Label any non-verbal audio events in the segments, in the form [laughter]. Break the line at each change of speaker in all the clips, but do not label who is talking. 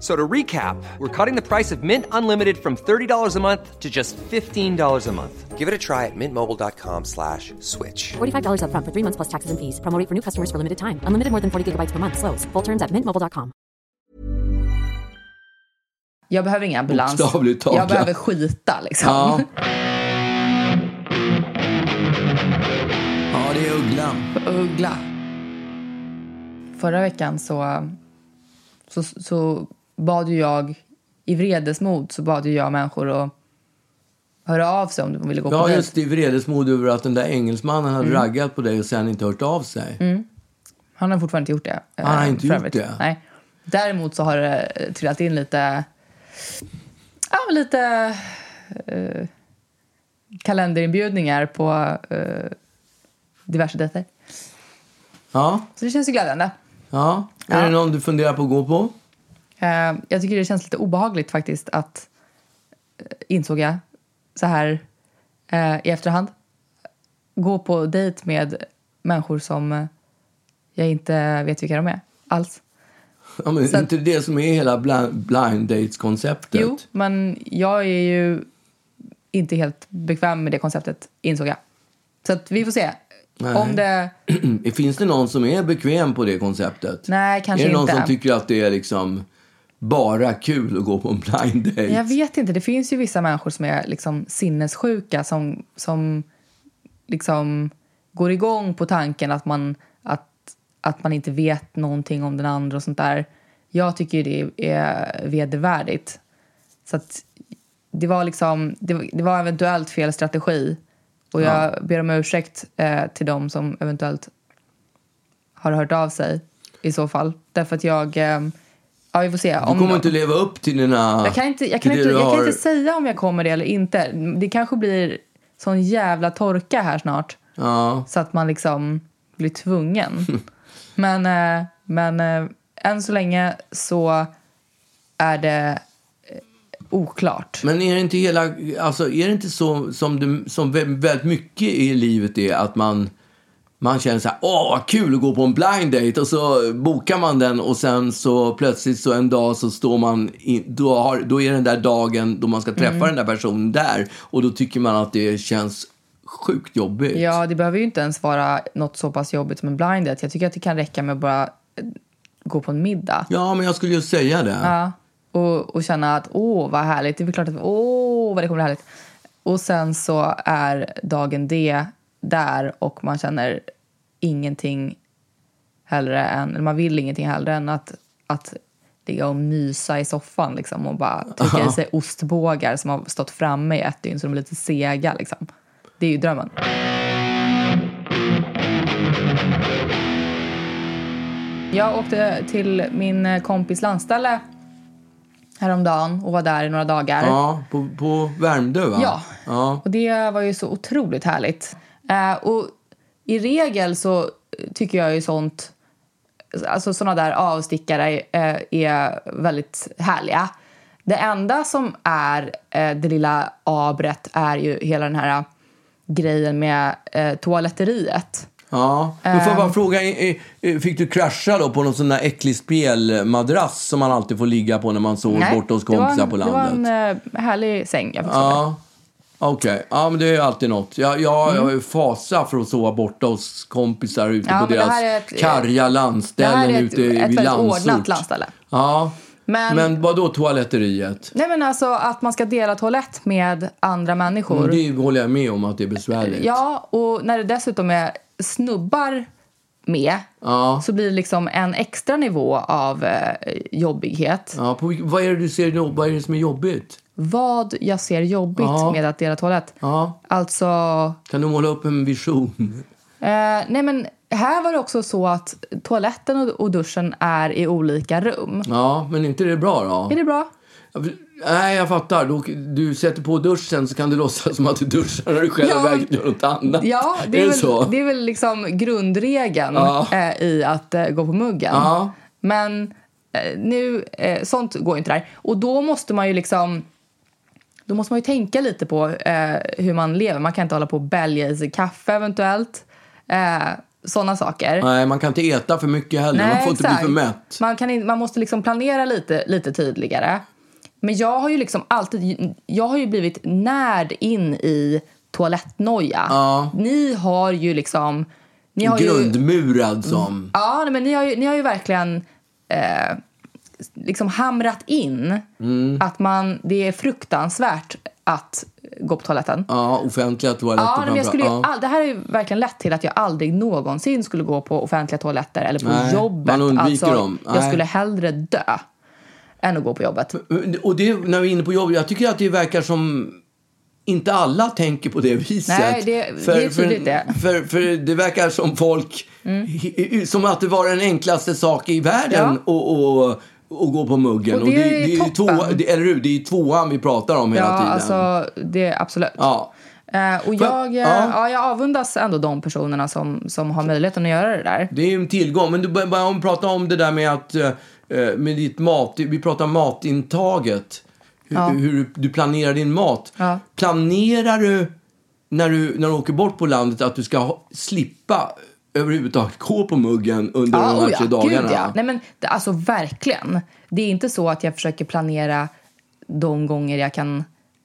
So to recap, we're cutting the price of Mint Unlimited from $30 a month to just $15 a month. Give it a try at mintmobile.com slash switch.
$45 up front for three months plus taxes and fees. Promo rate for new customers for limited time. Unlimited more than 40 gigabytes per month. Slows. Full terms at mintmobile.com.
Jag behöver ingen ambulans.
Bokstavligt talat.
Jag behöver skita liksom. [laughs]
Ja. Ja, det är Ugglan.
Uggla. Förra veckan så, så, så bad ju jag, i vredesmod så bad ju jag människor att höra av sig om de ville gå på
Ja,
dejt.
just det. i Vredesmod över att den där engelsmannen hade
Mm.
raggat på dig och sen inte hört av sig.
Han har fortfarande inte gjort det. eh,
Han har inte
för
gjort
övrigt.
det?
Nej. Däremot så har det eh, trillat in lite... Ja, men lite... eh, kalenderinbjudningar på eh, diverse dejter.
Ja,
Så det känns ju glädjande.
ja. Är
Ja.
det någon du funderar på att gå på?
Eh, jag tycker det känns lite obehagligt faktiskt att, eh, insåg jag så här eh, i efterhand, gå på dejt med människor som eh, jag inte vet vilka de är alls.
Ja, men
Så
är
att-
inte det som är hela bla- blind dates-konceptet?
Jo, men jag är ju inte helt bekväm med det konceptet, insåg jag. Så att vi får se.
Nej.
Om det...
Finns det någon som [clears throat] är bekväm på det konceptet?
Nej, kanske
Är det någon
inte.
som tycker att det är liksom bara kul att gå på en blind date?
Jag vet inte. Det finns ju vissa människor som är liksom sinnessjuka som, som liksom går igång på tanken att man, att, att man inte vet någonting om den andra och sånt där. Jag tycker ju det är vedervärdigt. Så att det var liksom, det, var- det var eventuellt fel strategi. Och jag ber om ursäkt eh, till dem som eventuellt har hört av sig i så fall. Därför att jag, eh, ja vi får se.
Du kommer inte leva upp till dina...
Jag kan inte, jag
till
kan
det
inte,
du
jag kan
har-
inte säga om jag kommer det eller inte. Det kanske blir sån jävla torka här snart
Ja.
så att man liksom blir tvungen.
[laughs]
men, eh, men eh, än så länge så är det eh, oklart.
Men är det inte hela, alltså är det inte så som, du, som vä- väldigt mycket i livet är att man, man känner så här, åh vad kul att gå på en blind date och så bokar man den och sen så plötsligt så en dag så står man, i, då, har, då är den där dagen då man ska träffa
Mm.
den där personen där och då tycker man att det känns sjukt jobbigt.
Ja, det behöver ju inte ens vara något så pass jobbigt som en blind date. Jag tycker att det kan räcka med att bara eh, gå på en middag.
Ja, men jag skulle ju säga det.
Ja. Och, och känna att åh, vad härligt. Det är väl klart att åh, vad det kommer bli härligt. Och sen så är dagen D där och man känner ingenting hellre än, eller man vill ingenting hellre än att, att ligga och mysa i soffan liksom och bara trycka i sig ostbågar som har stått framme i ett dygn så de är lite sega liksom. Det är ju drömmen. Jag åkte till min eh, kompis landställe häromdagen och var där i några dagar.
Ja, på, på Värmdö va?
Ja.
ja.
Och det var ju så otroligt härligt. Eh, och i regel så tycker jag ju sånt, alltså sådana där avstickare eh, är väldigt härliga. Det enda som är eh, det lilla abret är ju hela den här eh, grejen med eh, toaletteriet.
Ja, men får jag
Ehm.
bara fråga, eh, eh, eh, fick du krascha då på någon sån där äcklig spelmadrass som man alltid får ligga på när man sover borta hos
det var
kompisar
en,
på landet?
Det var en eh, härlig säng jag fick sova i.
Ja, okej. Ja, men det är ju alltid något. Jag, jag, jag har ju fasa för att sova borta hos kompisar ute
Mm. Ja,
på
men det
deras
här är ett-
karga
Det här
landställen
är ett,
ute i
ett väldigt
landsort.
ordnat landställe.
Ja,
Men-
men, men vad då toaletteriet?
Nej men alltså att man ska dela toalett med andra människor.
Mm, Det håller jag med om att det är besvärligt.
Ja, och när det dessutom är snubbar med
Ja.
så blir det liksom en extra nivå av eh, jobbighet.
Ja, på, vilk- vad är det du ser då? Vad är det som är jobbigt?
Vad jag ser jobbigt
Ja.
med att dela toalett.
Ja.
Alltså,
Kan du måla upp en vision?
eh, nej men här var det också så att toaletten och, och duschen är i olika rum.
Ja, men inte det bra då?
Är det bra?
Nej, jag fattar. Du, du sätter på duschen så kan du [laughs] låtsas som att du duschar när du själv
Ja.
verkligen gör något annat.
Ja, det är,
det
väl,
så?
det är väl liksom grundregeln
Ja.
eh, i att eh, gå på muggen.
Ja.
Men eh, nu, eh, sånt går ju inte där. Och då måste man ju liksom då måste man ju tänka lite på eh, hur man lever. Man kan inte hålla på och bälga i sig kaffe eventuellt. Eh, Sådana saker.
Nej, man kan inte äta för mycket heller. man får inte bli för mätt.
Man, kan in, man måste liksom planera lite, lite tydligare. Men jag har ju liksom alltid jag har ju blivit närd in i toalettnoja.
Ja.
Ni har ju liksom... Ni har ju, Mm.
Grundmurad som.
ja, nej, men ni har ju, ni har ju verkligen eh, liksom hamrat in
Mm.
att man, det är fruktansvärt att gå på toaletten.
Ja, offentliga toaletter
Ja, nej, men jag
framför-
skulle ju
ja.
all, det här har ju verkligen lett till att jag aldrig någonsin skulle gå på offentliga toaletter eller på
Nej,
jobbet.
man undviker
alltså,
dem.
Jag
Nej.
skulle hellre dö än att gå på jobbet.
Och det, när vi är inne på jobb, jag tycker att det verkar som inte alla tänker på det viset.
Nej, det- det är tydligt det.
För, för det verkar som folk, som att det var den enklaste sak i världen att och, och gå på muggen.
Och det är
ju
toppen.
två, det, eller hur? Det är ju tvåan vi pratar om
Ja,
hela tiden.
alltså det är absolut.
Ja.
Eh, och
För-
jag, eh,
ja.
ja. jag avundas ändå de personerna som, som har möjligheten att göra det där.
Det är ju en tillgång. Men du bör- börjar om prata om det där med att eh, eh, med ditt mat, vi pratar matintaget. Hur, hur du- du planerar din mat.
Ja.
Planerar du när, du när du åker bort på landet att du ska ha, slippa överhuvudtaget gå på muggen under de här
oh
tre dagarna?
Gud, ja. Nej, men, det- alltså verkligen. Det är inte så att jag försöker planera de gånger jag kan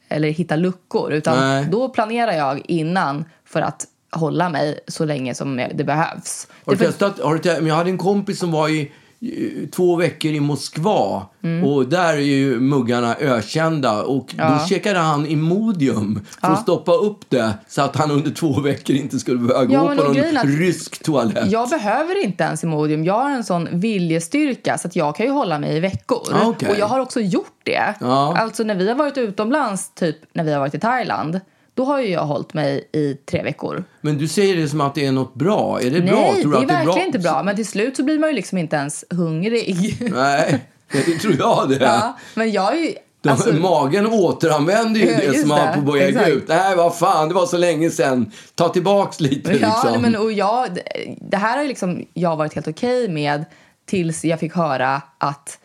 eller hitta luckor. Utan
Nej.
då planerar jag innan för att hålla mig så länge som det behövs.
Har
Det
du
finns-
testat? Har du testat? Men jag hade en kompis som var i i två veckor i Moskva
Mm.
och där är ju muggarna ökända och då käkade han Imodium för att stoppa upp det så att han under två veckor inte skulle behöva
Ja,
gå
men
på
och
någon
grejen att-
rysk toalett.
Jag behöver inte ens Imodium. Jag har en sån viljestyrka så att jag kan ju hålla mig i veckor.
Ah, okej.
Och jag har också gjort det.
Ja.
Alltså när vi har varit utomlands, typ när vi har varit i Thailand, då har ju jag hållit mig i tre veckor.
Men du säger det som att det är något bra. Är det bra?
Nej,
Tror
det
du
är
att det
verkligen
är bra?
inte bra. Men till slut så blir man ju liksom inte ens hungrig. [laughs]
Nej, [laughs] det tror jag det.
ja, men jag är ju...
De,
alltså,
magen återanvänder ju
Ja,
det
just
som
det.
man på väg
Exakt.
ut. Nej, vad fan, det var så länge sedan. Ta tillbaks lite
[laughs] ja,
liksom.
men, och jag, det- det här har ju liksom jag varit helt okej med tills jag fick höra att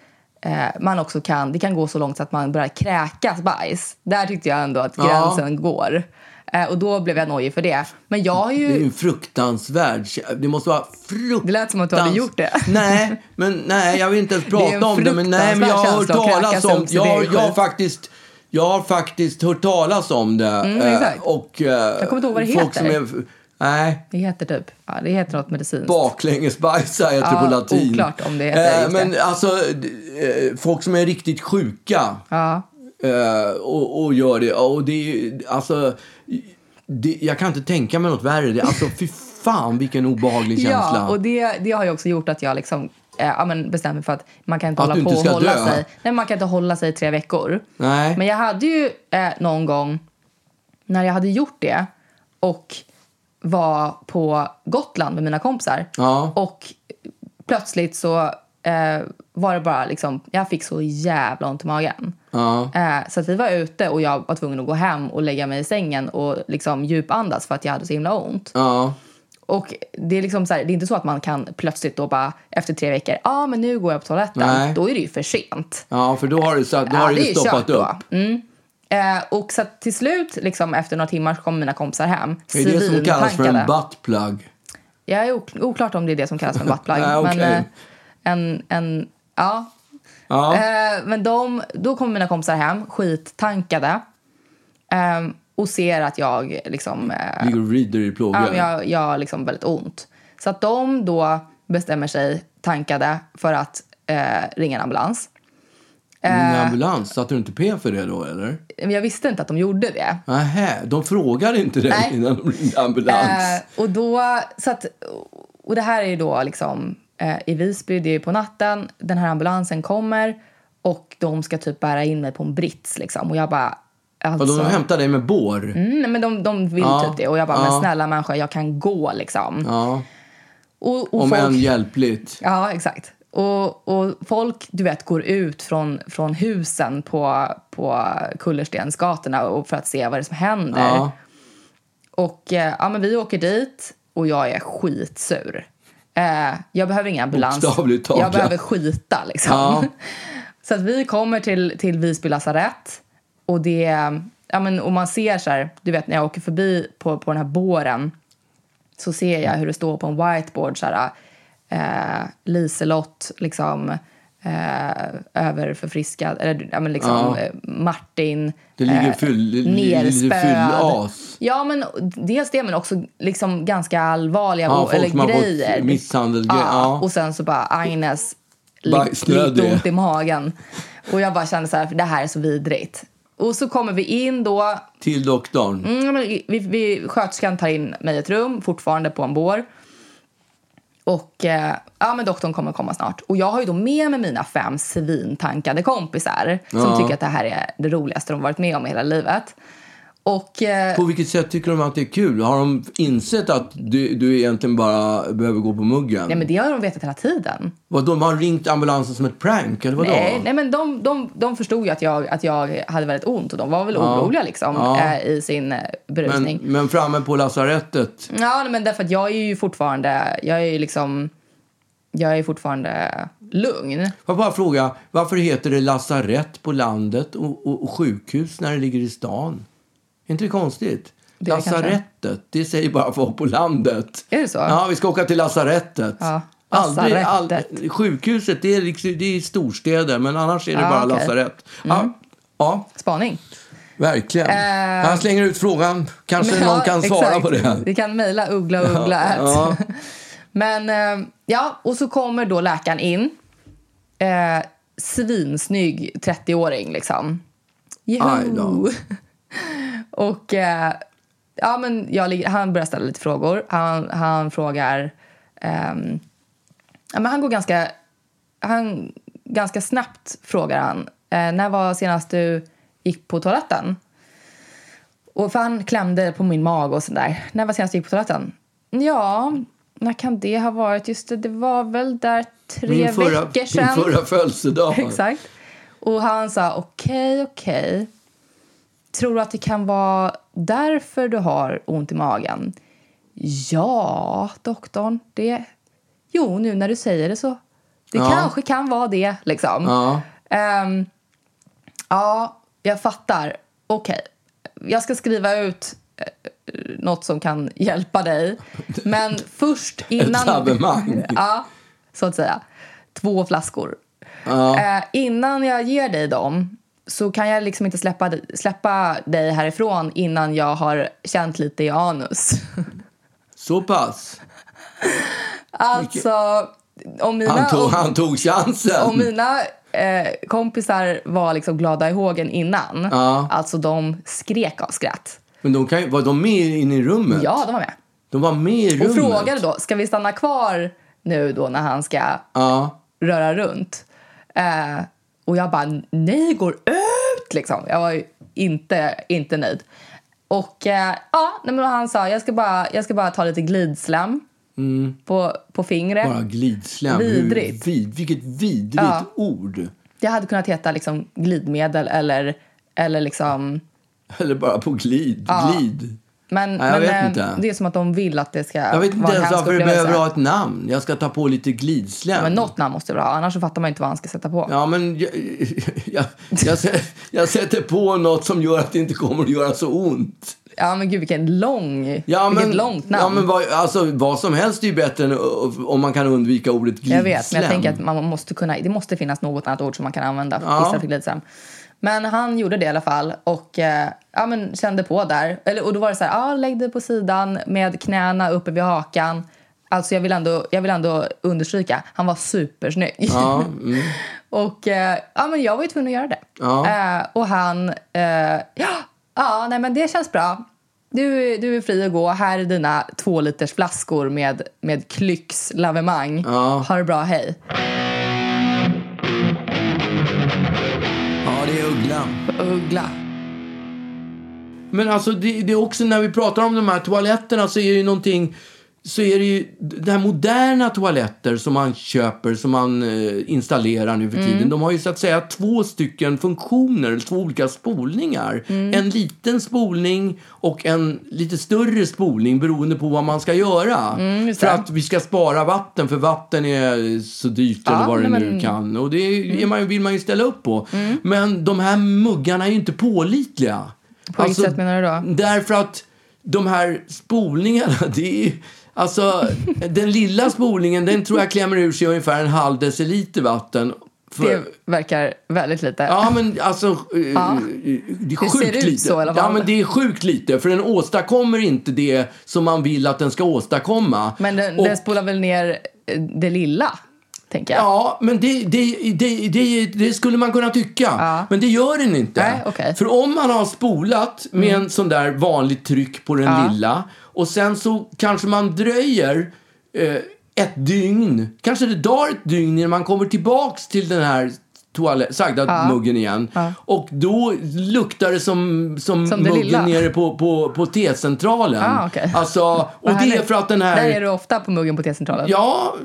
eh, man också kan, det kan gå så långt så att man börjar kräkas bajs. Där tyckte jag ändå att
Ja.
gränsen går. Eh, och då blev jag nojig för det. Men jag har
Det är ju
ju...
en fruktansvärd... Det måste vara fruktansvärt...
Det lät som att du hade gjort det.
[laughs] Nej, men nej, jag vill inte ens
[laughs] Det är en
prata om det. Men nej, men jag har hört
fruktansvärd känsla att
talas
kräkas
om
upp
det.
sin egen
Jag, jag, har
skit.
faktiskt, jag har faktiskt hört talas om det. eh,
Mm, exakt.
och, jag
kommer inte ihåg vad det
folk Som
heter.
är, nej,
Det heter typ... Ja, det heter något medicinskt.
baklängesbajsa heter det
Ja,
på latin.
oklart om det heter, just
men
det.
alltså, eh, folk som är riktigt sjuka.
Ja.
Eh, och, och gör det. Och det är ju- alltså, det, jag kan inte tänka mig något värre. Det, alltså, fy fan vilken obehaglig känsla.
Ja, och det, det har ju också gjort att jag liksom, eh, ja, men bestämde mig för att man kan inte
Att du
hålla på
inte ska
och hålla
dö.
sig. Nej, men man kan inte hålla sig i tre veckor.
Nej.
Men jag hade ju eh, någon gång när jag hade gjort det och var på Gotland med mina kompisar
Ja.
och plötsligt så eh, var det bara liksom, jag fick så jävla ont i magen.
Ja.
Eh, så att vi var ute och jag var tvungen att gå hem och lägga mig i sängen och liksom djupandas för att jag hade så himla ont.
Ja.
Och det är, liksom så här, det är inte så att man kan plötsligt då bara efter tre veckor, ja ah, men nu går jag på toaletten.
Nej.
Då är det ju för sent.
Ja, för då har det, satt, då har
Ja,
det,
är ju
stoppat
kört
upp.
då. Mm. Eh, och så att till slut, liksom, efter några timmar, så kommer mina kompisar hem.
Det är det som kallas för en buttplug.
Jag är ok- oklart om det är det som kallas för en
[laughs]
buttplug.
Nej, okej.
Men eh, en, en, ja.
Ja.
Eh, men de, då kommer mina kompisar hem, skittankade. Eh, och ser att jag liksom... Eh,
Ligger och rider i
Ja, men
plågor.
jag, jag har liksom väldigt ont. Så att de då bestämmer sig, tankade, för att eh, ringa en ambulans.
Ring
eh.
ambulans. Satte du inte P för det då, eller?
Men jag visste inte att de gjorde det.
Nähä, de frågade inte dig
Nej.
innan de ringde ambulans.
Eh, och då, Eh, så att, Och det här är ju då liksom eh, i Visby, det är på natten, den här ambulansen kommer och de ska typ bära in mig på en brits liksom. Och jag bara,
Och
alltså.
de hämtar dig med bår.
Mm, men de, de vill
Ja.
typ det. Och jag bara,
Ja.
men snälla människa, jag kan gå liksom.
Ja,
Och, och
om
folk,
än hjälpligt.
Ja, exakt. Och, och folk, du vet, går ut från, från husen på, på Kullerstensgatorna och för att se vad det är som händer.
Ja.
Och eh, ja, men vi åker dit och jag är skitsur. Eh, jag behöver ingen ambulans.
Bokstavligt talat.
Jag behöver skita liksom.
Ja.
[laughs] Så att vi kommer till, till Visby lasarett och det, ja men och man ser så här, du vet när jag åker förbi på, på den här båren så ser jag hur det står på en whiteboard så här, eh, Liselott liksom eh, överförfriskad, eller ja men liksom
Ja.
eh, Martin
Det ligger
Eh,
fyll- li- li- lite
nerspöad.
fyllas.
Ja men dels det men också liksom ganska allvarliga
Ja,
och-
folk
eller
som har fått
grejer.
misshandel-
ja.
ja.
Och sen så bara Agnes
Bajsnödig.
lite ont i magen. Och jag bara kände så här, för det här är så vidrigt. Och så kommer vi in då,
Till doktorn.
mm, men vi, vi, sköterskan tar in mig i ett rum, fortfarande på en bår. Och eh, ja, men doktorn kommer komma snart. Och jag har ju då med mig mina fem svintankade kompisar
Ja.
som tycker att det här är det roligaste de varit med om i hela livet. Och eh,
På vilket sätt tycker de att det är kul? Har de insett att du, du egentligen bara behöver gå på muggen?
nej, men det har de vetat hela tiden.
Vadå, de har ringt ambulansen som ett prank eller vadå?
Nej, nej men de, de, de förstod ju att jag, att jag hade väldigt ont och de var väl oroliga liksom
Ja.
eh, i sin eh,
men,
berusning.
men framme på lasarettet?
Ja, nej, men därför att jag är ju fortfarande, jag är ju liksom, jag är ju fortfarande lugn.
Får jag bara fråga, varför heter det lasarett på landet och, och, och sjukhus när det ligger i stan? Är inte det konstigt?
Det är det kanske.
lasarettet, det säger bara folk på landet.
Är det så?
Ja, vi ska åka till lasarettet.
Ja,
Aldrig-
lasarettet.
all- sjukhuset, det är, liksom, det är i storstäder, men annars är det
Ja,
bara
okej. Mm.
lasarett. Ja, ja,
Spaning.
verkligen.
Eh.
Jag slänger ut frågan. Kanske
Men,
någon
ja,
kan svara
exakt.
på det.
Vi kan mejla uggla uggla at.
ja.
[laughs] Men eh, ja, och så kommer då läkaren in. Eh, svinsnygg 30-åring liksom.
Aj då.
Joho! [laughs] och eh, ja, men jag, ligger- han börjar ställa lite frågor. Han, han frågar... ehm, ja, men han går ganska, han, ganska snabbt, frågar han. Eh, när var senast du gick på toaletten? Och för han klämde på min mage och sådär. När var senast du gick på toaletten? Ja, när kan det ha varit? Just det, det var väl där tre
Min förra,
veckor
min
sedan. [laughs]
förra födelsedag.
Exakt. Och han sa okej, okej. Tror du att det kan vara därför du har ont i magen? Ja, doktorn. Det... Jo, nu när du säger det så. Det
Ja.
kanske kan vara det, liksom.
Ja.
Ehm, ja, jag fattar. Okej, jag ska skriva ut eh, något som kan hjälpa dig. Men
[laughs]
först innan...
abonnemang.
[laughs] ja, så att säga. Två flaskor. Eh, innan jag ger dig dem så kan jag liksom inte släppa, släppa dig härifrån innan jag har känt lite i
[laughs]
anus.
Så pass.
Alltså, om mina...
Han tog,
om-
han tog chansen.
Och mina eh, kompisar var liksom glada i hågen innan.
Ja.
Alltså de skrek av skratt.
Men de kan, ju- var de med inne i rummet?
Ja, de var med.
De var med i rummet?
Och frågade då, ska vi stanna kvar nu då när han ska
Ja.
röra runt? Eh, och jag bara, nej, går ut liksom. Jag var ju inte, inte nöjd. Och eh, ja, nej, men han sa, jag ska bara, jag ska bara ta lite glidslam på, på fingret.
Mm. Bara glidsläm.
Vidrigt.
Hur, vid, vilket vidrigt
Ja.
ord.
Det hade kunnat heta liksom glidmedel eller, eller liksom...
Eller bara på glid. Glid.
Men,
Ja, jag
men
vet
eh,
inte.
det är som att de vill att det ska
Jag vet inte
vara en
ens
hemsk
varför det
upplevelse.
behöver ha ett namn. Jag ska ta på lite glidsläm.
Men något namn måste det vara, annars så fattar man inte vad han ska sätta på.
Ja, men jag, jag, jag, sä- jag sätter på något som gör att det inte kommer att göra så ont.
Ja, men gud vilken lång,
Ja,
vilket
men,
långt
Ja,
namn.
men vad, alltså, vad som helst är ju bättre än uh, om man kan undvika ordet glidsläm.
jag vet, men jag tänker att man måste kunna, det måste finnas något annat ord som man kan använda
Ja.
istället för glidsam. Men han gjorde det i alla fall och eh, ja, men kände på där. Eller, och då var det så här, ah, lägg dig på sidan med knäna uppe vid hakan. Alltså jag vill ändå, jag vill ändå understryka, han var supersnygg.
Ja, mm.
[laughs] Och eh, ja, men jag var ju tvungen att göra det.
Ja.
Eh, och han... Eh, ja, ja, nej men det känns bra. du, du är fri att gå. Här är dina två liters flaskor med, med Klyx lavemang.
Ja.
Ha det bra, hej.
Ja, det är ugglan.
Uggla.
Men alltså, det, det är också när vi pratar om de här toaletterna så är det ju någonting... Så är det ju det här moderna toaletter som man köper, som man eh, installerar nu för tiden.
Mm.
De har ju så att säga två stycken funktioner, eller två olika spolningar.
Mm.
En liten spolning och en lite större spolning beroende på vad man ska göra.
Mm, just
för
det.
att vi ska spara vatten, för vatten är så dyrt eller
Ja,
vad det
nej,
nu
men- Mm.
kan. Och det är, är man, ju- vill man ju ställa upp på. Men de här muggarna är ju inte pålitliga.
På vilket sätt menar du då?
Alltså, Därför att de här spolningarna, [laughs] det är ju... Alltså, den lilla spolningen, den tror jag klämmer ur sig ungefär en halv deciliter vatten. För-
Det verkar väldigt lite.
Ja, men alltså... eh, Det är
Det
sjukt
ser ut
lite.
så i alla
Ja,
fall.
men det är sjukt lite. För den åstadkommer inte det som man vill att den ska åstadkomma.
Men den,
Och-
den spolar väl ner eh, det lilla, tänker jag.
Ja, men det, det, det, det, det skulle man kunna tycka.
Ja.
Men det gör den inte.
Nej, okej. Mm.
För om man har spolat med en sån där vanligt tryck på den
Ja.
lilla och sen så kanske man dröjer eh, ett dygn, kanske det tar ett dygn innan man kommer tillbaks till den här toalett, sagda muggen igen. Och då luktar det som, som,
Som det
muggen
lilla.
nere på, på, på T-centralen.
Ah, okej.
alltså, och
Vad
det är
härligt.
för att den här...
Där är du ofta på muggen på T-centralen.
Ja,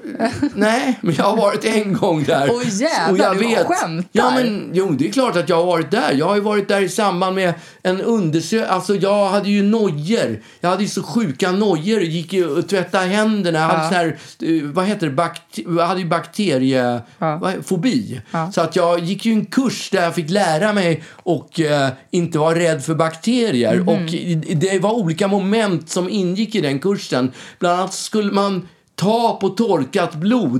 nej, men jag har varit en gång där.
Åh, jävlar, du skämtar.
Ja, men jo, det är klart att jag har varit där. Jag har ju varit där i samband med en undersökning. Alltså, jag hade ju nojor. Jag hade ju så sjuka nojor. Gick ju och tvättade händerna. Jag hade sån här, eh, vad heter det, Bakte- jag hade ju
Ja.
bakteriefobi. Så att jag gick ju en kurs där jag fick lära mig och eh, inte vara rädd för bakterier.
Mhm.
Och i- det var olika moment som ingick i den kursen. Bland annat skulle man ta på torkat blod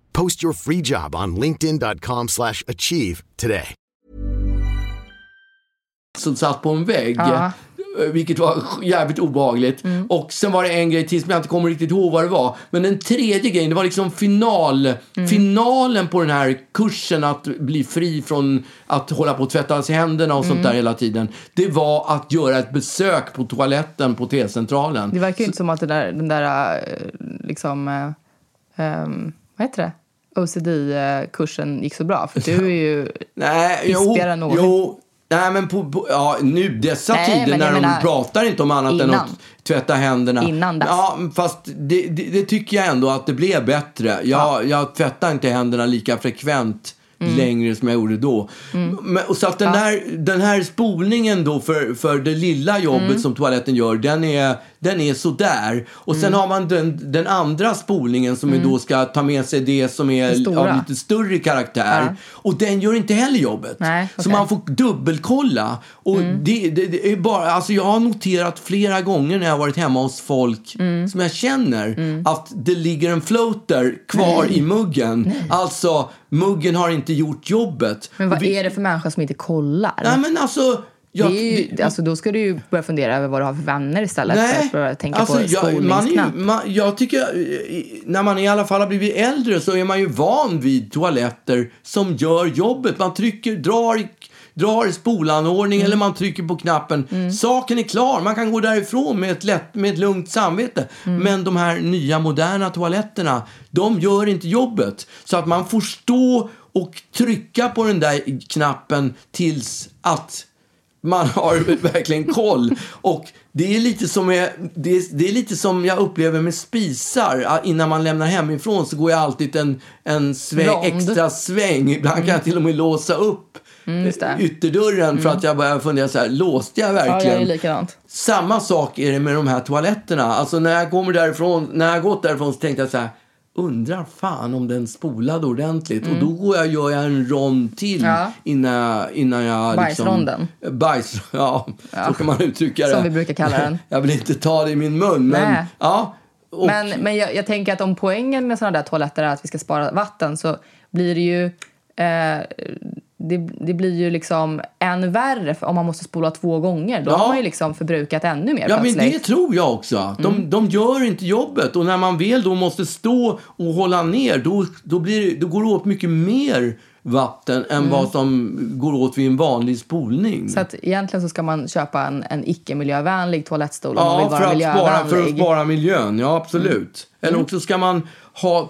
Post your free job on linkedin.com/achieve slash achieve today.
som satt på en vägg.
Ja. Mm.
eh, Vilket var sj- jävligt obehagligt. Och sen var det en grej till som jag inte kommer riktigt ihåg vad det var. Men den tredje grejen, det var liksom final,
Mm.
finalen på den här kursen att bli fri från att hålla på och tvätta sig händerna och
Mm.
sånt där hela tiden. Det var att göra ett besök på toaletten på T-centralen.
Det verkar ju inte som att den där, den där eh, liksom, eh, ehm, vad heter det? OCD-kursen gick så bra. För du är ju,
Nej, jo,
Krispigare än Åre.
jo. Nej, men på, på, ja, nu dessa
Nej,
tider
men
när
jag
de
menar-
pratar inte om annat än
Innan.
att tvätta händerna.
Innan dess.
Ja, fast det, det, det tycker jag ändå att det blev bättre. Jag, jag tvättar inte händerna lika frekvent
Mm.
längre som jag gjorde då. Men, och så att den, där, den här spolningen då för, för det lilla jobbet
Mm.
som toaletten gör, den är, den är sådär. Och
Mm.
sen har man den, den andra spolningen som ju då ska ta med sig det som är
Det stora.
av lite större karaktär.
Ja.
Och den gör inte heller jobbet.
Nej,
Så
okej.
man får dubbelkolla. Och
Mm.
det, det, det är bara, alltså jag har noterat flera gånger när jag har varit hemma hos folk
Mm.
som jag känner att det ligger en floater kvar i muggen. Alltså, muggen har inte gjort jobbet.
men vad
Och vi-
är det för människa som inte kollar?
Nej, men alltså...
det
Jag,
är ju,
det-
alltså, då ska du ju börja fundera över vad du har för vänner istället. för att börja tänka på
Alltså, jag, man är
spolningsknapp.
ju, man, jag tycker, eh, när man i alla fall har blivit äldre så är man ju van vid toaletter som gör jobbet. Man trycker, drar, i- drar i spolanordning
Mm.
eller man trycker på knappen. Saken är klar, man kan gå därifrån med ett, lätt, med ett lugnt samvete.
Mm.
Men de här nya moderna toaletterna, de gör inte jobbet. Så att man får stå och trycka på den där knappen tills att Man har [laughs] verkligen koll. Och det är lite som, jag, det är, det är lite som jag upplever med spisar. Ah, Innan man lämnar hemifrån så går jag alltid en, en sväng,
Rond.
extra sväng. Ibland kan jag till och med låsa upp
Mm,
eh, ytterdörren för att jag börjar fundera så här, låste jag
Ja, jag är
verkligen?
likadant.
Samma sak är det med de här toaletterna. Alltså när jag kommer därifrån, när jag gått därifrån så tänkte jag så här, undrar fan om den spolade ordentligt. Och då går jag gör jag en rond till
Mm. Ja.
innan jag, innan jag
Bajsronden.
Liksom, bajs, ja, så kan man uttrycka det.
Som vi brukar kalla den.
[laughs] jag vill inte ta det i min mun, men
Nej.
ja. Och,
Men, men jag, jag tänker att om poängen med sådana där toaletter är att vi ska spara vatten så blir det ju... Eh, det, det blir ju liksom än värre för om man måste spola två gånger. Då
Ja.
har man ju liksom förbrukat ännu mer
Ja, men
plötsligt. Mm.
det tror jag också. De, de gör inte jobbet. Och när man väl då måste stå och hålla ner, då, då, blir, det- då går det åt mycket mer vatten än vad som går åt vid en vanlig spolning.
Mm. Så att egentligen så ska man köpa en, en icke-miljövänlig toalettstol om man
ja,
vill
för
vara
att, spara, för att
miljövänlig. Mm.
spara miljön. Ja, absolut. Eller också ska man ha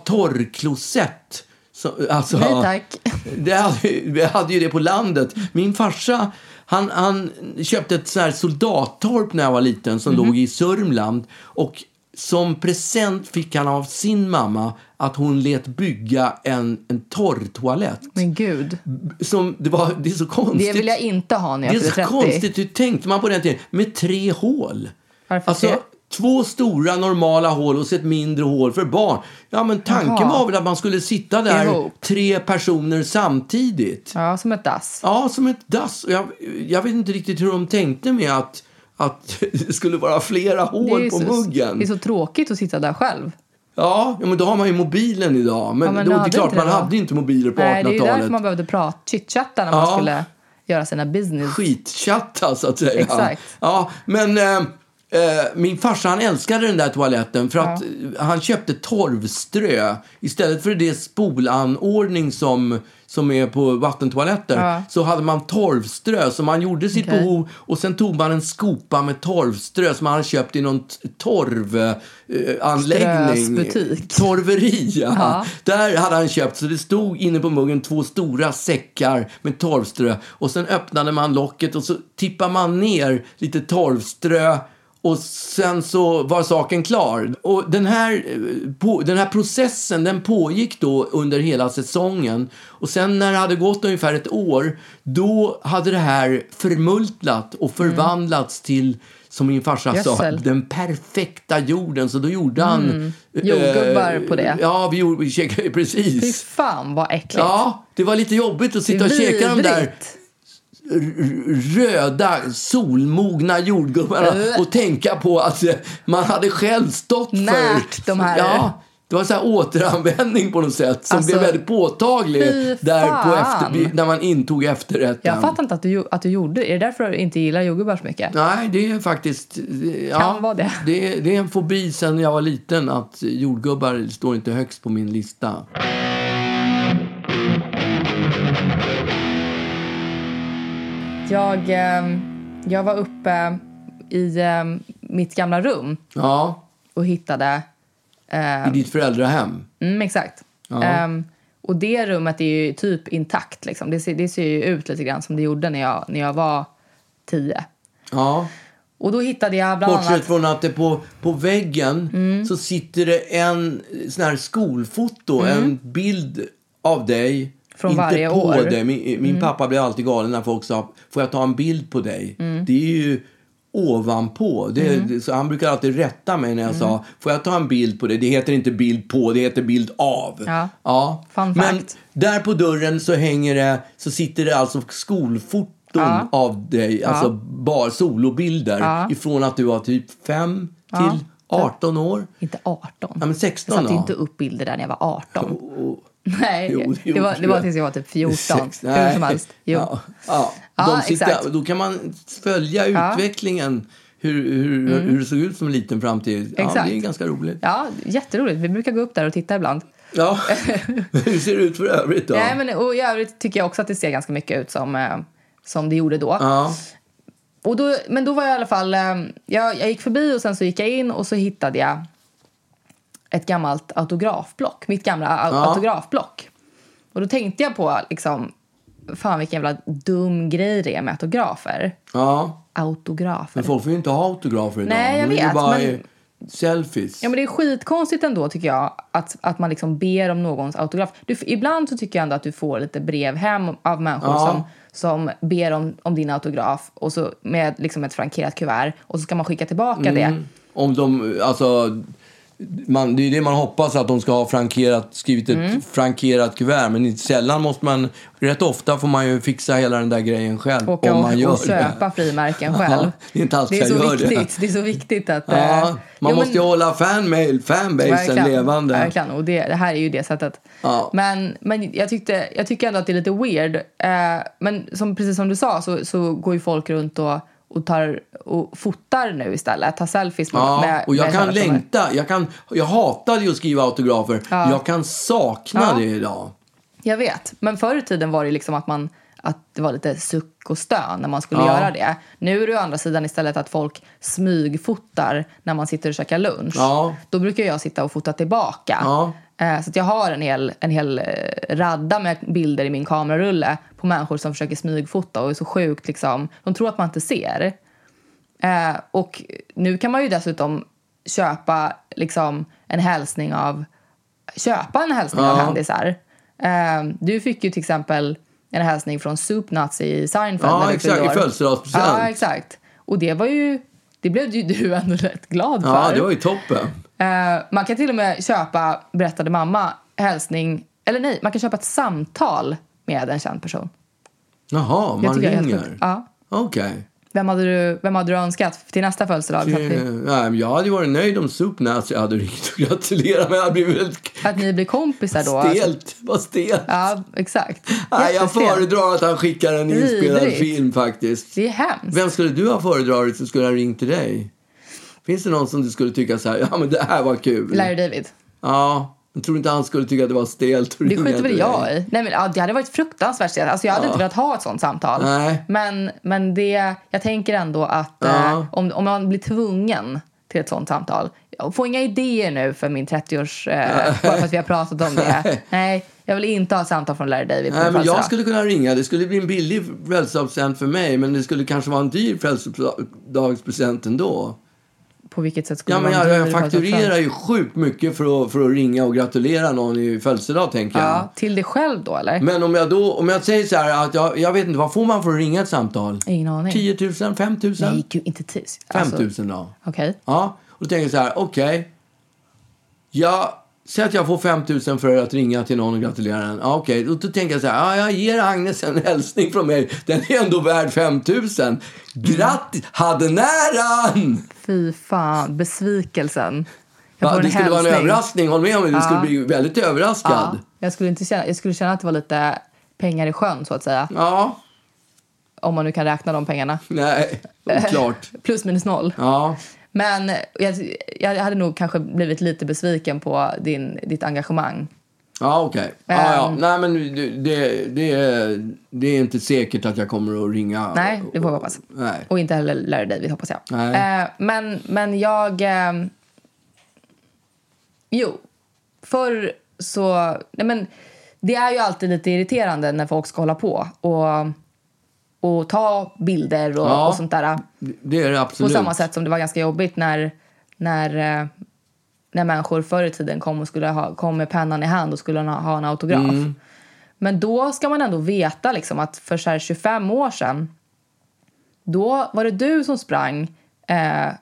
torrklosett. Så, alltså,
Nej tack.
Det hade, ju- vi hade ju det på landet. Min farsa han, han köpte ett så här soldattorp när jag var liten
Mm-hmm.
som låg i Sörmland. Och som present fick han av sin mamma att hon lät bygga en, en torrtoalett.
Men gud.
Som, det, var, det är så konstigt.
Mm. Det vill jag inte ha när jag
Det är
fyller
så
30.
konstigt. Hur tänkte man på den tiden? Med tre hål.
Varför
alltså,
tre?
Två stora normala hål och så ett mindre hål för barn. Ja, men tanken
Jaha.
var väl att man skulle sitta där
Ihop.
tre personer samtidigt.
Ja, som ett dass.
Ja, som ett dass. Och Jag, jag vet inte riktigt hur de tänkte med att, att [laughs] det skulle vara flera hål på
så,
muggen.
det är så tråkigt att sitta där själv.
Ja, ja, men då har man ju mobilen idag. Men,
Ja, men
då, det är
hade
klart,
inte det
man
då?
hade inte mobiler på
Nej, det är ju
1800-talet.
därför man behövde prata, chitchatta när man
Ja.
skulle göra sina business.
skitchatta alltså, så att säga.
Exakt.
Ja, men eh, eh, min farsa han älskade den där toaletten för att eh, han köpte torvströ istället för det spolanordning som som är på vattentoaletter, så hade man torvströ. Så man gjorde sitt
Okej.
behov och sen tog man en skopa med torvströ som man hade köpt i någon t- eh, torvanläggning.
Strösbutik.
Torveri, ja. Där hade han köpt, så det stod inne på muggen två stora säckar med torvströ. Och sen öppnade man locket och så tippade man ner lite torvströ och sen så var saken klar. Och den här, eh, på, den här processen den pågick då under hela säsongen. Och sen när det hade gått ungefär ett år då hade det här förmultnat och förvandlats till, som min farsa sa,
Gödsel.
den perfekta jorden. Så då gjorde han... eh,
Jordgubbar på det.
Ja, vi, gjorde, vi käkade [laughs]
Fy
precis.
fan vad äckligt.
Ja, det var lite jobbigt att
Det är
sitta och käka de där
vidrigt.
röda, solmogna jordgubbarna
Äh.
och tänka på att eh, man hade själv stått
Närt
för...
de här.
Ja, det var så här återanvändning på något sätt som
Alltså,
blev väldigt påtaglig
fy
där på
fan.
efter, när man intog efterrätten.
Jag fattar inte att du, gjo- att du gjorde det. Är det därför du inte gillar jordgubbar så mycket?
Nej, det är faktiskt... eh, Ja,
Kan vara det.
det. är- Det är en fobi sen jag var liten att jordgubbar står inte högst på min lista.
Jag, ehm, jag var uppe i ehm, mitt gamla rum
Ja,
och hittade... eh,
i ditt föräldrahem.
mm, exakt. Ehm, och det rummet är ju typ intakt. Liksom. Det, ser, det ser ju ut lite grann som det gjorde när jag, när jag var tio.
Ja.
Och då hittade jag bland
Bortsett
annat... Mm.
från att det på, på väggen så sitter det en sån här skolfoto, en bild av dig.
Mm. Från
inte
varje
på
år. Mm.
dig. Min, min pappa blir alltid galen när folk sa får jag ta en bild på dig?
Mm.
Det är ju ovanpå. Det, det- så han brukar alltid rätta mig
Mm.
när jag sa får jag ta en bild på dig? Det heter inte bild på, det heter bild av.
Ja.
ja.
Fun
Men
fact.
där på dörren så hänger det, så sitter det alltså skolfoton av dig, alltså bara solobilder ifrån att du var typ 5 till 18 år.
Inte 18.
Ja, men 16
jag satte
då.
inte upp bilder där när jag var 18.
[laughs]
Nej,
Jo, det
det, var,
gjorde
det var
jag.
tills jag var typ 14.
Sex-
Hur som helst. Jo.
Ja, ja.
Ja,
De sitter,
exakt.
då kan man följa utvecklingen hur, hur, hur det såg ut som liten fram till... Ja, det är
Mm. Exakt.
ganska roligt.
Ja, jätteroligt. Vi brukar gå upp där och titta ibland.
Ja.
[laughs]
hur ser det ut för övrigt då?
Nej, men, och I övrigt tycker jag också att det ser ganska mycket ut som, eh, som det gjorde då.
ja.
Och då. Men då var jag i alla fall... Eh, jag, jag gick förbi och sen så gick jag in och så hittade jag ett gammalt autografblock. Mitt gamla au- autografblock. Och då tänkte jag på liksom, fan vilken jävla dum grej det är med autografer.
Ja,
Autografer.
men folk får ju inte ha autografer idag.
Nej, jag
Nu är det
vet,
bara
men-
eh, selfies.
Ja, men det är skitkonstigt ändå tycker jag att, att man liksom ber om någons autograf. Du, ibland så tycker jag ändå att du får lite brev hem av människor
Ja.
som, som ber om, om din autograf och så med liksom ett frankerat kuvert och så ska man skicka tillbaka det.
Om de, alltså, man, det är det man hoppas att de ska ha frankerat, skrivit ett
Mm.
frankerat kuvert. Men inte sällan måste man, rätt ofta får man ju fixa hela den där grejen själv.
Åka
Mm. om
och,
man gör
och köpa
det.
frimärken själv.
[laughs] Ja, det är inte alltid
det är
jag
så
gör det.
viktigt. Det. är så viktigt att... eh,
Ja, man
jo,
måste ju
men-
hålla fanmail, fanbasen
Verkligen,
levande.
Verkligen, och det, det här är ju det sättet.
Ja.
Men, men jag, tyckte, jag tycker ändå att det är lite weird. Eh, men som, precis som du sa så, så går ju folk runt och, och, tar, och fotar nu istället. Tar selfies med,
Ja,
med
och jag
med
kan
sådana personer.
längta. Jag, kan, jag hatade ju att skriva autografer. Jag kan sakna
Ja.
det idag.
Jag vet, men förr i tiden var det liksom att man att det var lite suck och stön när man skulle
Ja.
göra det. Nu är det å andra sidan istället att folk smygfotar när man sitter och käkar lunch.
Ja.
Då brukar jag sitta och fota tillbaka.
Ja.
Eh, Så att jag har en hel, en hel eh, radda med bilder i min kamerarulle på människor som försöker smygfota och är så sjukt liksom. De tror att man inte ser. Eh, och nu kan man ju dessutom köpa liksom en hälsning av köpa en hälsning av
Ja.
kändisar. Eh, du fick ju till exempel en hälsning från Supnuts i Seinfeld
Ja,
när du
exakt,
fyllde år.
i födelsedagspresent.
Ja, exakt. Och det var ju det blev ju [laughs] du ändå rätt glad
Ja,
för.
det var ju toppen.
Eh, man kan till och med köpa, berättade mamma, hälsning, eller nej, man kan köpa ett samtal med en känd person.
Jaha,
Det
man
tycker jag är helt
ringer.
sjukt. Ja.
Okej.
Vem hade, du, vem hade du önskat till nästa födelsedag? Så att,
Eh,
vi,
nej, men jag hade ju varit nöjd om Supnats jag hade ringt och gratulerat men jag hade blivit väldigt
att ni blir kompisar då? Alltså.
stelt. Vad stelt.
Ja, exakt.
[laughs] nej, jag
Jättestelt.
föredrar att han skickar en inspelad
Vidrigt.
film faktiskt.
Det är hemskt.
Vem skulle du ha föredragit som skulle ha ringt till dig? Finns det någon som du skulle tycka så här, ja men det här var kul?
Larry David.
Ja, jag tror inte han skulle tycka att det var stelt att
Det
ringa
skiter väl
till
jag
dig.
i. Nej, men, ja, det hade varit fruktansvärt stelt. Alltså, jag hade inte velat ha ett sånt samtal.
Nej.
Men, men det, jag tänker ändå att eh,
Ja.
om, om man blir tvungen till ett sånt samtal. Få inga idéer nu för min 30-års... Eh, bara för att vi har pratat om
[laughs]
det. Nej, jag vill inte ha ett samtal från Larry David. Alltså, på
Nej,
min
men jag
födelsedag.
skulle kunna ringa. Det skulle bli en billig födelsedagspresent för mig, men det skulle kanske vara en dyr födelsedagspresent ändå.
På vilket sätt skulle
Ja, men
man...
jag,
driva
jag
det på ett sånt
fakturerar
sätt?
ju sjukt mycket för att, för att ringa och gratulera någon i födelsedag, tänker jag.
Ja, till dig själv då, eller?
Men om jag då, om jag säger så här att jag, jag vet inte, vad får man för att ringa ett samtal?
Ingen aning.
10 000, 5 000?
Nej, gud, inte tis.
5
Alltså,
000 då.
Okej.
Ja, och då tänker jag så här, okej. Jag, säg att jag får 5 000 för att ringa till någon och gratulera den. Ja, okej, och då tänker jag så här, ja, jag ger Agnes en [laughs] hälsning från mig. Den är ändå värd 5 000.
Mm.
Grattis, hade näran!
Fy fan, besvikelsen. Jag
Ja,
får en
det skulle vara en
hälsning.
överraskning, håll med om det. Du skulle bli väldigt överraskad.
Jag skulle, inte känna, jag skulle känna att det var lite pengar i sjön, så att säga.
Ja,
Om man nu kan räkna de pengarna.
nej, oklart.
Plus minus noll.
Ja,
Men jag, jag hade nog kanske blivit lite besviken på din, ditt engagemang.
ja okej. Ja, ja.
Ehm.
Nej, men det, det, det, är- det är inte säkert att jag kommer att ringa.
Nej, det får jag hoppas.
Nej.
Och inte heller Larry David, hoppas jag.
Nej.
Eh, men, men jag... Eh, jo, förr så... Nej men, det är ju alltid lite irriterande när folk ska hålla på och, och ta bilder och,
Ja.
och sånt där.
Det är det
På
absolut.
samma sätt som det var ganska jobbigt när, när, eh, när människor förr i tiden kom, och skulle ha, kom med pennan i hand och skulle ha, ha en autograf. Men då ska man ändå veta liksom att för så här 25 år sedan då var det du som sprang eh,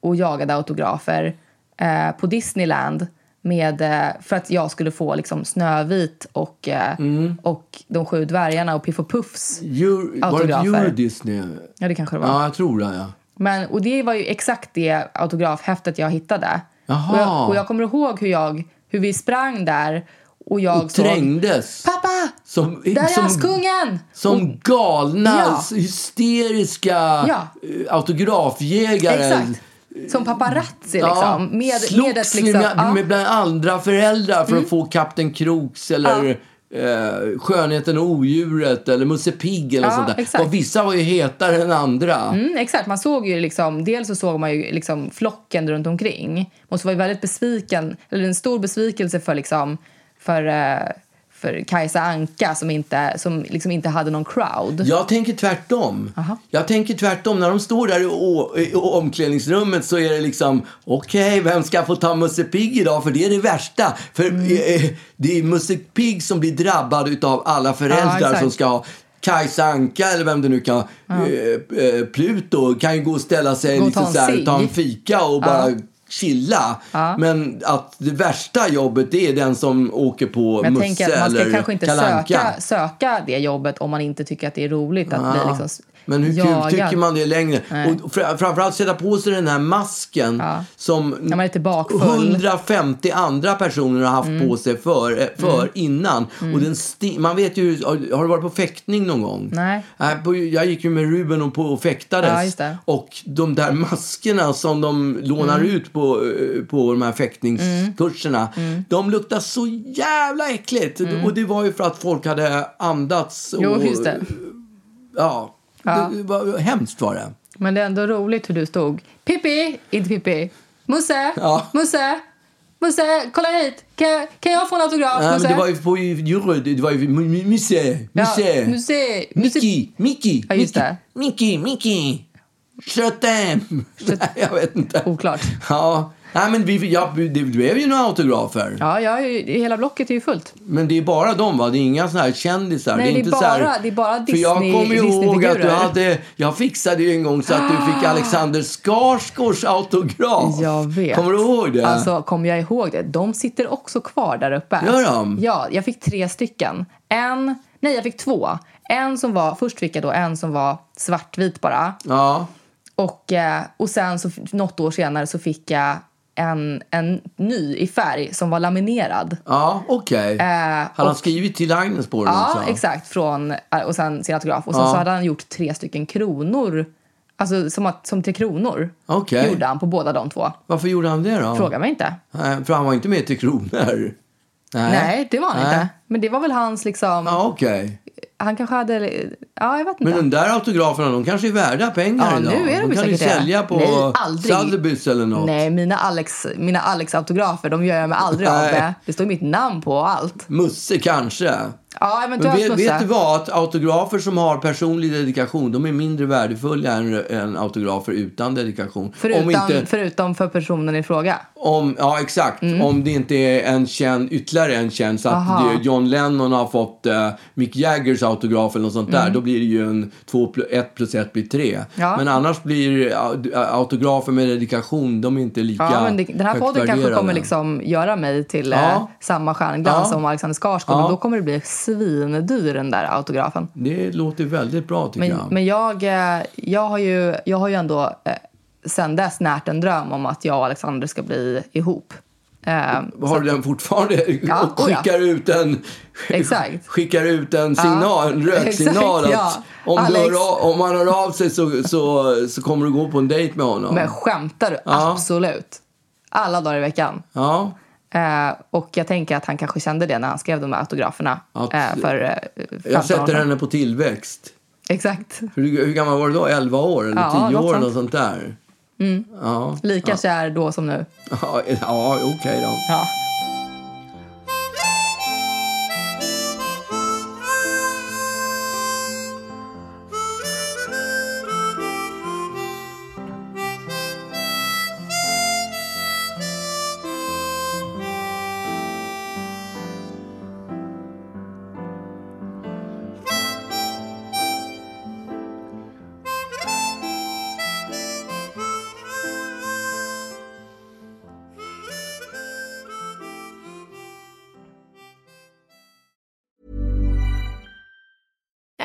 och jagade autografer eh, på Disneyland med, eh, för att jag skulle få liksom, Snövit och, eh, och De sju dvärgarna och Piff och Puffs.
Euro, var det
Autografer.
inte Euro Disney?
Ja, det kanske det var.
Ja, jag tror det. Ja.
Men, och det var ju exakt det autografhäftet jag hittade.
Jaha.
Och jag, och jag kommer ihåg hur, jag, hur vi sprang där och jag
Och
såg...
trängdes.
Pappa!
Som,
Där är
som,
Askungen!
Som galna,
Ja.
hysteriska
Ja.
eh, autografjägare.
Exakt. Som paparazzi liksom.
Ja,
med,
slogs
med ett liksom...
med,
ja. Mm.
med bland andra föräldrar för att få Kapten Kroks eller eh, Skönheten och odjuret eller Musse Pigg eller
Ja,
sånt där.
exakt.
Och vissa var ju hetare än andra.
Mm, exakt, man såg ju liksom, dels så såg man ju liksom flocken runt omkring. Man var ju väldigt besviken, eller en stor besvikelse för liksom, för, eh, för Kajsa Anka som inte, som liksom inte hade någon crowd.
Jag tänker tvärtom. Jag tänker tvärtom. När de står där i, å, i omklädningsrummet så är det liksom okej, vem ska få ta Musse Pigg idag? För det är det värsta. För
Mm.
eh, eh, det är Musse Pigg som blir drabbad utav alla föräldrar
exakt.
som ska ha Kajsa Anka eller vem det nu kan vara, eh, eh, Pluto kan ju gå och ställa sig
Gå och
lite
ta en
så här,
cigg.
ta en fika och bara chilla. Men att det värsta jobbet det är den som åker på
Men jag
Musse
tänker att man ska
eller
kanske inte
Kalle Anka.
söka, söka det jobbet om man inte tycker att det är roligt att bli
Ja,
liksom s-
Men hur
jagad.
kul tycker man det är längre?
Nej.
Och fr- framförallt sätta på sig den här masken som
När man är tillbaka full.
150 andra personer har haft
Mm.
på sig för, eh, för innan. Och den sti- man vet ju, har har du varit på fäktning någon gång?
Nej.
Äh, på, jag gick ju med Ruben och, på, och
Ja,
fäktades.
just det. Mm.
och de där maskerna som de lånar ut på, eh, på de här fäktningskurserna,
Mm.
de luktar så jävla äckligt. Och det var ju för att folk hade andats och
Jo, just det.
Ja.
Ja.
Det var, hemskt var det.
Men det är ändå roligt hur du stod. Pippi! Inte Pippi. Musse!
Ja.
Musse! Musse, kolla hit! Kan, kan jag få en autograf,
Nej, men
Musse?
det var ju på jury, det var ju mu- mu- Musse,
ja,
Musse,
Musse! Musse!
Mickey, Mickey,
Ja, just det.
Mickey, Mickey, Shut them. Nej, [laughs] jag vet inte.
Oklart.
Ja, nej men vi, ja, det blev ju några autografer.
Ja, jag, är ju- hela blocket är ju fullt.
Men det är bara de va? Det är inga såna här kändisar?
Nej, det är
inte
bara-
så här...
det är bara
För jag
Disney-
kommer ju ihåg att du
Disney-figurer. Ah.
hade... Jag fixade ju en gång så att du fick Alexander Skarsgårds autograf.
Jag vet.
Kommer du ihåg det?
Alltså, kommer jag ihåg det? De sitter också kvar där uppe.
Gör de?
Ja, jag fick tre stycken. En, nej jag fick två. En som var, först fick jag då en som var svartvit bara.
Ja.
Och, eh, och sen så, något år senare så fick jag en, en ny i färg som var laminerad.
Ja, okej.
Eh,
Har han skrivit till Agnes på den
Ja,
också?
exakt. Från, eh, och sen sin autograf. Och sen
Ja.
så hade han gjort tre stycken kronor. Alltså som, att, som tre kronor.
Okej.
Gjorde han på båda de två.
Varför gjorde han det då?
Fråga mig inte.
Nej, för han var inte med till Kronor. Nej.
Nej, det var han
Nej.
inte. Men det var väl hans liksom...
Ja, okej.
Han kanske hade... Ja, jag vet
Men
inte.
de där autograferna, de kanske är värda pengar
Ja,
idag.
nu är de
de
ju
kan
säkert det.
sälja på
Nej, aldrig.
Sotheby's eller något.
Nej, mina Alex, mina Alex autografer, de gör jag mig aldrig av
Nej.
med. Det står mitt namn på och allt.
Musse kanske.
Ja,
Men
eventuellt
vet,
Musse.
vet du vad? Att autografer som har personlig dedikation, de är mindre värdefulla än, än autografer utan dedikation.
Förutom,
om inte,
förutom för personen i fråga.
om, ja, exakt. Om det inte är en känd, ytterligare en känd, så att
Mm. Aha.
det, John Lennon har fått eh, Mick Jaggers autograf eller något sånt där, då blir det ju en 1 plus 1 blir 3.
Mm. Ja.
Men annars blir au- autografer med dedikation, de är inte lika
Ja, men det, den här
högt
podden kanske
värderade.
kommer liksom göra mig till
Ja.
eh, samma stjärnglans
Ja.
som Alexander Skarsgård.
Ja.
Och då kommer det bli svindyr den där autografen.
Det låter väldigt bra tycker
Men,
jag.
men jag, eh, jag, har ju, jag har ju ändå eh, sen dess närt en dröm om att jag och Alexander ska bli ihop. Eh,
Har du den fortfarande?
Ja,
[laughs] och
oh ja.
skickar ut en,
Exakt.
skickar ut en signal, en röksignal.
Exakt,
att
ja.
om, du
Alex.
hör, av- om han hör av sig så, så, så kommer du gå på en dejt med honom.
Men skämtar du?
Ja.
Absolut. Alla dagar i veckan.
Ja,
Eh, och jag tänker att han kanske kände det när han skrev de här autograferna.
Att-
eh, för eh, 15 år
jag sätter
sedan.
henne på tillväxt.
Exakt.
Hur, hur gammal var du då? 11 år eller
Ja,
10
något
år?
sånt.
Något sånt där. Ja,
Lika kär då som nu.
ja, ja okej då.
Ja.